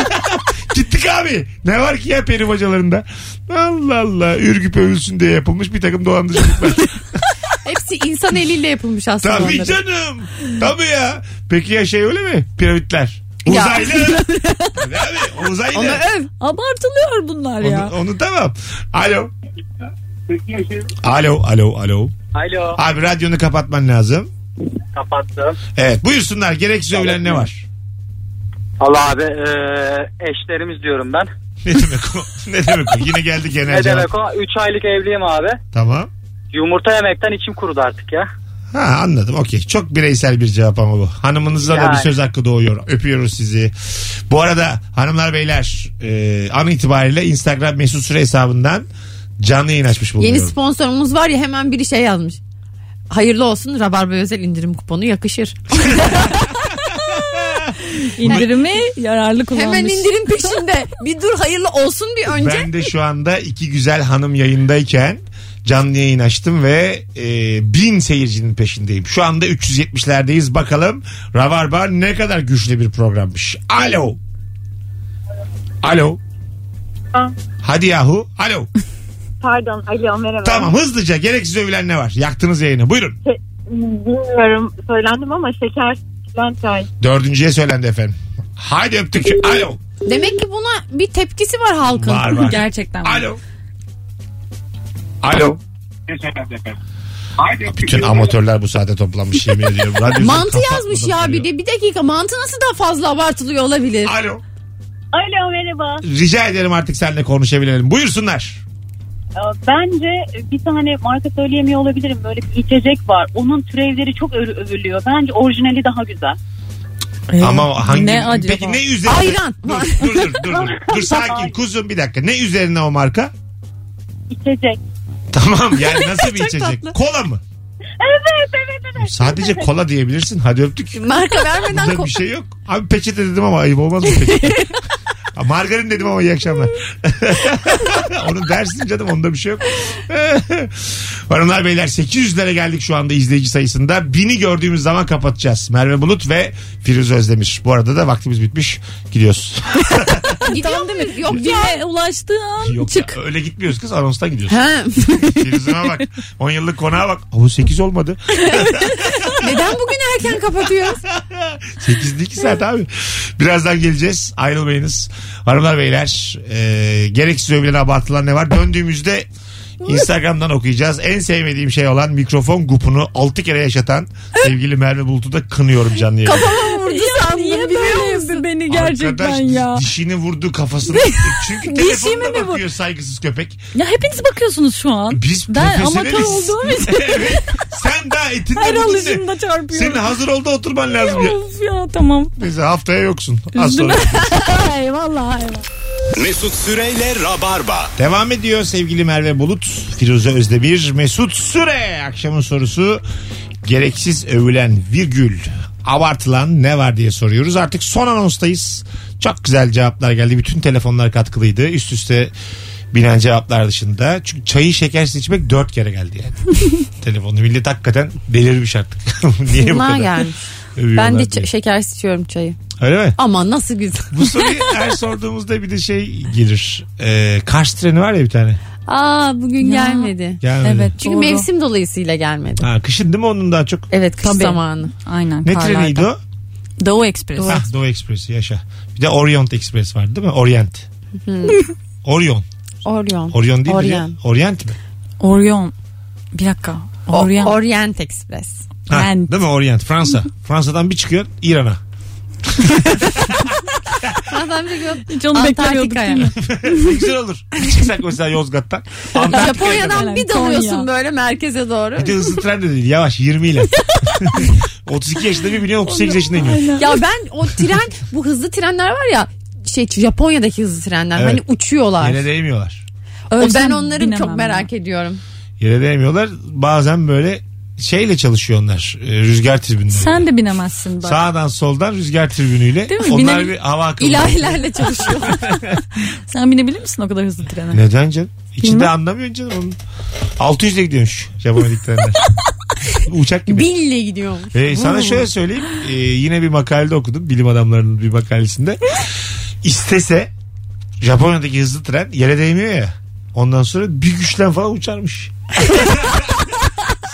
S2: Gittik abi. Ne var ki ya peri hocalarında? Allah Allah. Ürgüp övülsün diye yapılmış bir takım dolandırıcılıklar.
S3: Hepsi insan eliyle yapılmış aslında.
S2: Tabii
S3: onların.
S2: canım. Tabii ya. Peki ya şey öyle mi? Piramitler.
S3: Ya.
S2: Uzaylı. Tabii abi uzaylı.
S3: Onu öv.
S4: Abartılıyor bunlar ya.
S2: Onu, onu tamam. Alo. Alo, alo, alo.
S9: Alo
S2: Abi radyonu kapatman lazım.
S9: kapattım.
S2: Evet buyursunlar. Gereksiz övülen ne var?
S8: Allah abi e, eşlerimiz diyorum ben.
S2: Ne demek o? Ne demek o? Yine geldi genel
S8: Ne
S2: cevap.
S8: demek o? 3 aylık evliyim abi.
S2: Tamam.
S8: Yumurta yemekten içim kurudu artık ya.
S2: Ha anladım okey. Çok bireysel bir cevap ama bu. Hanımınızla da
S8: Yani.
S2: bir söz hakkı doğuyor. Öpüyoruz sizi. Bu arada hanımlar beyler e, an itibariyle Instagram mesut süre hesabından canlı yayın açmış
S3: Yeni
S2: bulunuyorum.
S3: sponsorumuz var ya hemen biri şey yazmış. Hayırlı olsun Rabarba özel indirim kuponu yakışır.
S4: İndirimi yararlı kullanmış.
S3: Hemen indirim peşinde. Bir dur hayırlı olsun bir önce.
S2: Ben de şu anda iki güzel hanım yayındayken canlı yayın açtım ve e, bin seyircinin peşindeyim. Şu anda 370'lerdeyiz. Bakalım Ravarba ne kadar güçlü bir programmış. Alo. Alo. Hadi yahu. Alo.
S10: Pardon alo merhaba.
S2: Tamam hızlıca gereksiz övülen ne var? Yaktınız yayını. Buyurun.
S10: Şey, bilmiyorum söylendim ama şeker Bülent Çay.
S2: Dördüncüye söylendi efendim. Haydi öptük. Alo.
S3: Demek ki buna bir tepkisi var halkın.
S2: Var var.
S4: Gerçekten.
S2: Alo. Alo. Bütün amatörler bu saate toplanmış yemin ediyorum. Radyosu
S3: Mantı
S2: kapatmadan
S3: yazmış ya
S2: duruyor.
S3: biri. Bir dakika mantı nasıl daha fazla abartılıyor olabilir?
S2: Alo.
S10: Alo merhaba.
S2: Rica ederim artık seninle konuşabilelim. Buyursunlar.
S10: Ee, Bence bir tane marka söyleyemiyor olabilirim. Böyle bir içecek var. Onun türevleri çok ö- övülüyor. Bence orijinali daha güzel.
S4: Ee,
S2: Ama hangi
S4: Ne acaba?
S2: Peki ne üzerine?
S3: Ayran.
S2: Dur dur dur dur. dur. Dur sakin kuzum bir dakika. Ne üzerine o marka?
S10: İçecek.
S2: Tamam yani nasıl bir
S3: Çok
S2: içecek?
S3: tatlı.
S2: Kola mı?
S10: Evet evet evet.
S2: Sadece kola diyebilirsin. Hadi öptük.
S3: Marka vermeden
S2: Burada
S3: ko-
S2: bir şey yok. Abi peçete dedim ama ayıp olmaz mı peçete? Ha, Margarin dedim ama iyi akşamlar. Onu dersin canım onda bir şey yok. Hanımlar beyler 800'lere geldik şu anda izleyici sayısında. Bini gördüğümüz zaman kapatacağız. Merve Bulut ve Firuze Özdemir. Bu arada da vaktimiz bitmiş. Gidiyoruz.
S3: gidiyor değil mi? Yok ya.
S4: Bine ulaştığı an
S2: Yok
S4: çık.
S2: ya, öyle gitmiyoruz kız anonstan gidiyoruz.
S3: Ha,
S2: Firuze'me bak. 10 yıllık konağa bak. O 8 olmadı.
S3: neden bugün erken kapatıyoruz?
S2: 8'de 2 saat abi. Birazdan geleceğiz. Ayrılmayınız. Hanımlar beyler e, gereksiz övülen abartılan ne var? Döndüğümüzde Instagram'dan okuyacağız. En sevmediğim şey olan mikrofon gupunu 6 kere yaşatan sevgili Merve Bulut'u da kınıyorum canlı yayında.
S3: Kafama vurdu sandım
S4: Niye
S3: biliyor
S4: böyle
S3: musun?
S4: yaptı beni gerçekten
S2: Arkadaş
S4: ya?
S2: di- dişini vurdu kafasını. Çünkü
S4: Dişi
S2: telefonuna
S4: mi bu?
S2: bakıyor saygısız köpek.
S4: Ya hepiniz bakıyorsunuz şu an.
S2: Biz
S4: Ben
S2: profesyoneliz.
S4: amatör olduğum için
S2: evet. Sen daha etinde
S4: her
S2: budun ne?
S4: alışımda
S2: Senin
S4: çarpıyorum.
S2: hazır oldu oturman lazım. ya.
S4: Of ya tamam.
S2: Neyse haftaya yoksun. Az
S4: Üzdün.
S2: sonra.
S4: eyvallah eyvallah.
S1: Mesut Süreyle Rabarba.
S2: Devam ediyor sevgili Merve Bulut, Firuze Özdemir, Mesut Süre. Akşamın sorusu gereksiz övülen virgül abartılan ne var diye soruyoruz. Artık son anonstayız. Çok güzel cevaplar geldi. Bütün telefonlar katkılıydı. Üst üste binen cevaplar dışında. Çünkü çayı şekersiz içmek dört kere geldi yani. Telefonu millet hakikaten delirmiş artık. Niye bu
S3: Bunlar
S2: kadar?
S3: gelmiş.
S2: övüyorlar
S3: Ben de
S2: diye.
S3: ç- şeker içiyorum çayı.
S2: Öyle mi?
S3: Aman nasıl güzel.
S2: Bu soruyu her sorduğumuzda bir de şey gelir. Ee, Kars treni var ya bir tane.
S3: Aa bugün
S4: Ya.
S3: gelmedi.
S2: Gelmedi.
S4: Evet
S3: Çünkü
S4: doğru.
S3: mevsim dolayısıyla gelmedi.
S2: Ha, kışın değil mi onun daha çok?
S3: Evet kış
S4: Tabii.
S3: zamanı.
S4: Aynen.
S2: Ne
S4: karlarda.
S2: treniydi o?
S4: Doğu Ekspres.
S2: Ah,
S4: Hmm.
S2: Doğu Ekspresi yaşa. Bir de Orient Express vardı değil mi? Orient. Orion.
S3: Orion.
S2: Orion değil mi?
S3: Orient.
S2: ya? Orient mi?
S4: Orion. Bir dakika.
S3: O-
S4: Orient.
S3: Orient Express.
S2: Ha,
S4: Orient.
S2: Değil mi Orient? Fransa. Fransa'dan bir çıkıyorsun İran'a.
S3: Adam bir şey yok.
S4: Hiç onu beklemiyorduk.
S3: Antarktika'ya.
S4: değil mi?
S2: Ne güzel olur. Bir çıksak mesela Yozgat'tan. Antakya'ya kadar.
S3: Japonya'dan bir dalıyorsun
S4: Konya.
S3: böyle merkeze doğru.
S2: Bir de hızlı tren de değil yavaş 20 ile. 32 yaşında bir biniyor 38 yaşında iniyor.
S3: Ya ben o tren bu hızlı trenler var ya şey Japonya'daki hızlı trenler
S2: Evet.
S3: hani uçuyorlar.
S2: Yere değmiyorlar.
S3: O ben
S4: Ölsem
S3: onları
S4: binemem
S3: çok
S4: ben.
S3: merak ediyorum.
S2: Yere değmiyorlar. Bazen böyle şeyle çalışıyor onlar. e, Rüzgar tribünleri.
S4: Sen de binemezsin bak.
S2: Sağdan soldan rüzgar tribünüyle.
S4: Değil mi?
S2: Onlar
S4: Bine-
S2: bir hava akımı.
S3: İlahilerle çalışıyor.
S4: Sen binebilir misin o kadar hızlı trene?
S2: Neden canım? İçinde
S4: Bilmem.
S2: anlamıyorsun canım. Onun 600'le gidiyormuş Japonya'daki trenler. Uçak gibi.
S3: Binle gidiyor.
S2: Ee, sana şöyle söyleyeyim. Ee, yine bir makalede okudum. Bilim adamlarının bir makalesinde. İstese Japonya'daki hızlı tren yere değmiyor ya. Ondan sonra bir güçten falan uçarmış.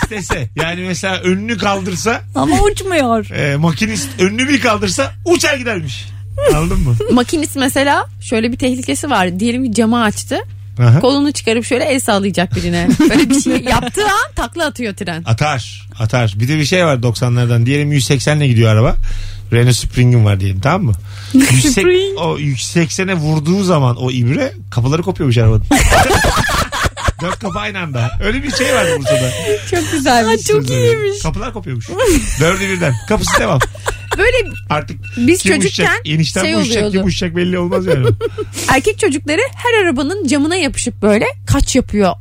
S2: İstese. Yani mesela önünü kaldırsa
S4: Ama uçmuyor.
S2: e, makinist önünü bir kaldırsa uçar gidermiş. Anladın mı?
S3: Makinist mesela şöyle bir tehlikesi var. Diyelim ki camı açtı.
S2: Aha.
S3: Kolunu çıkarıp şöyle el sağlayacak birine. Böyle bir şey yaptığı an takla atıyor tren.
S2: Atar. Atar. Bir de bir şey var 90'lardan. Diyelim 180 ile gidiyor araba. Renault Spring'in var diyelim tamam mı? Yüksek,
S4: Spring.
S2: o 180'e vurduğu zaman o ibre kapıları kopuyormuş arabanın. Dört kapı aynı anda. Öyle bir şey vardı Bursa'da.
S3: Çok güzelmiş.
S2: Çok iyiymiş. Kapılar kopuyormuş. Dördü birden. Kapısı devam.
S3: Böyle
S2: Artık
S3: Biz
S2: kim
S3: çocukken
S2: uçacak? Enişten
S3: şey
S2: mi uçacak? Kim
S3: oluyordu.
S2: uçacak belli olmaz yani.
S3: erkek çocukları her arabanın camına yapışıp böyle kaç yapıyor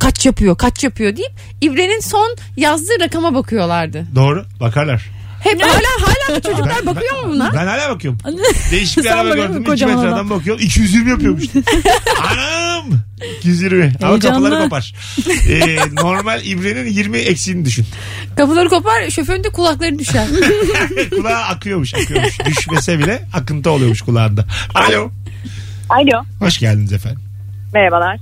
S3: kaç yapıyor kaç yapıyor deyip İbre'nin son yazdığı rakama bakıyorlardı.
S2: Doğru. Bakarlar.
S3: Hep hala hala çocuklar
S2: Ben-
S3: bakıyor mu buna?
S2: Ben hala bakıyorum. Değişik bir
S4: Sen
S2: araba
S4: bakıyor musun
S2: gördüm. 2
S4: kocaman
S2: metreden
S4: adam?
S2: bakıyorum. 220 yapıyormuş. Anam! 220. Ama
S4: Heyecanlı.
S2: kapıları kopar. Ee, normal ibrenin 20 eksiğini düşün.
S3: Kapıları kopar şoförün de kulakları düşer.
S2: Kulağa akıyormuş akıyormuş. Düşmese bile akıntı oluyormuş kulağında. Alo.
S10: Alo.
S2: Hoş geldiniz efendim.
S10: Merhabalar.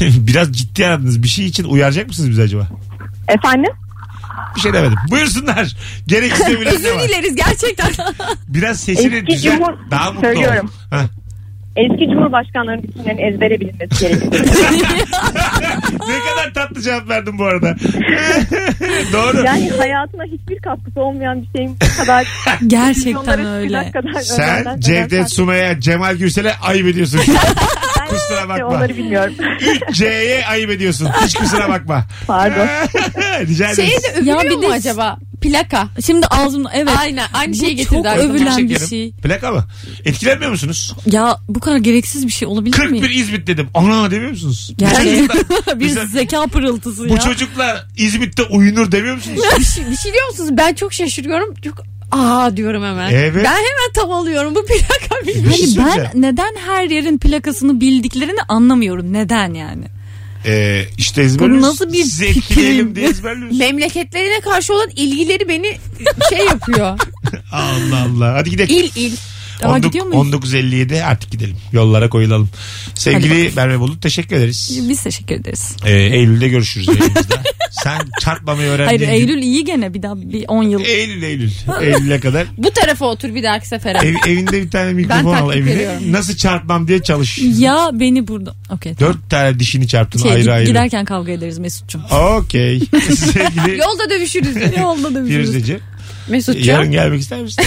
S2: Biraz ciddi aradınız. Bir şey için uyaracak mısınız bizi acaba?
S10: Efendim?
S2: Bir şey demedim. Buyursunlar. Gerekirse bile ne
S3: Özür
S2: şey var?
S3: dileriz gerçekten.
S2: Biraz sesini
S10: Eski
S2: düzelt.
S10: Cumhur-
S2: Daha mutlu
S10: Söylüyorum.
S2: ol. Heh.
S10: Eski Cumhurbaşkanlarının isimlerinin ezbere bilinmesi gerekiyor.
S2: Ne kadar tatlı cevap verdim bu arada. Doğru.
S10: yani hayatına hiçbir katkısı olmayan bir şeyin bu kadar...
S4: Gerçekten
S10: Onları
S4: öyle.
S10: sıcak kadar
S2: Sen
S10: öğrenmeden-
S2: Cevdet Sumaya, Cemal Gürsel'e ayıp ediyorsun.
S10: Ben
S4: şey
S2: kusura bakma.
S10: Onları bilmiyorum.
S2: 3C'ye ayıp ediyorsun. Hiç kusura bakma.
S10: Pardon.
S2: Rica ederim.
S3: Şeyi de övülüyor
S4: Ya bir
S3: mu
S4: Şey de-
S3: acaba? Plaka.
S4: Şimdi ağzımda evet.
S3: Aynen aynı
S4: Bu
S3: şeyi şey getirdi.
S4: çok
S3: aklıma.
S4: övülen bir
S2: Şekerim.
S4: şey.
S2: Plaka mı? Etkilenmiyor musunuz?
S4: Ya bu kadar gereksiz bir şey olabilir
S2: 41
S4: mi?
S2: İzmit dedim. Ana demiyor musunuz? Bu
S4: Gerçekten
S2: çocuklar-
S4: bir
S2: Mesela-
S4: zeka pırıltısı ya.
S2: Bu çocuklar İzmit'te uyunur demiyor musunuz?
S3: bir, şey, bir şey diyor musunuz? Ben çok şaşırıyorum. Çok aa diyorum hemen.
S2: Evet.
S3: Ben hemen tav alıyorum. Bu plaka bir
S2: Bir şey
S4: Hani
S2: söyleyeceğim.
S4: ben neden her yerin plakasını bildiklerini anlamıyorum. Neden yani?
S2: Ee, işte ezberliyoruz.
S4: nasıl bir
S2: Sizi etkileyelim
S4: fikrim?
S2: diye ezberliyoruz.
S3: memleketlerine karşı olan ilgileri beni şey yapıyor.
S2: Allah Allah. Hadi gidelim.
S3: İl il.
S4: Daha
S2: Onduk-
S4: gidiyor muyuz?
S2: 19.57 artık gidelim. Yollara koyulalım. Sevgili Merve Bulut teşekkür ederiz.
S4: Biz teşekkür ederiz.
S2: Ee, Eylül'de görüşürüz yayınımızda. Sen çarpmamayı öğrendin.
S4: Hayır Eylül iyi gene bir daha bir 10 yıl.
S2: Eylül Eylül. Eylül'e kadar.
S3: Bu tarafa otur bir dahaki sefere.
S2: Ev, evinde bir tane mikrofon
S3: Ben
S2: al
S3: taktik
S2: evine.
S3: veriyorum.
S2: Nasıl çarpmam diye çalış.
S4: Ya beni burada. Okey. tamam.
S2: Dört tane dişini çarptın
S4: Şey,
S2: ayrı
S4: gid-
S2: ayrı.
S4: Giderken kavga ederiz Mesut'cum.
S2: Okey. Sevgili
S3: Yolda dövüşürüz.
S4: Yolda dövüşürüz.
S2: Firuzeci. Yarın
S3: Mesut'cum.
S2: gelmek ister misin?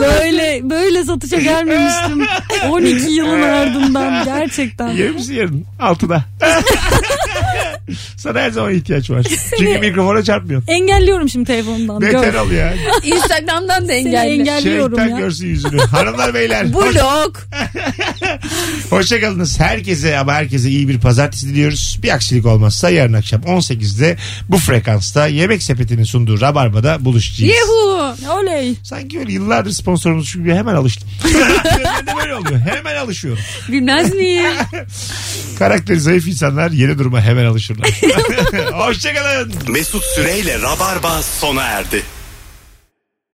S4: Böyle böyle satışa gelmemiştim. 12 yılın ardından gerçekten.
S2: Gelir misin yarın? Altıda. Sana her zaman ihtiyaç var. Çünkü mikrofona çarpmıyorsun.
S4: Engelliyorum şimdi telefondan.
S2: Beter
S4: Gör.
S2: al ya.
S3: Instagram'dan
S4: Seni
S3: da engelli.
S4: engelliyorum
S2: Şerikten
S4: ya.
S2: görsün yüzünü. Hanımlar beyler. Hoş,
S3: Blok.
S2: hoşçakalınız. Herkese ama herkese iyi bir pazartesi diliyoruz. Bir aksilik olmazsa yarın akşam 18'de bu frekansta Yemek Sepeti'nin sunduğu Rabarba'da buluşacağız.
S3: Yehu.
S4: Oley.
S2: Sanki böyle yıllardır sponsorumuz çünkü hemen alıştım. ben de böyle oluyor. Hemen alışıyorum.
S3: Bilmez miyim?
S2: Karakteri zayıf insanlar yeni duruma hemen alışırlar. Hoşçakalın.
S1: Mesut Süreyle Rabarba sona erdi.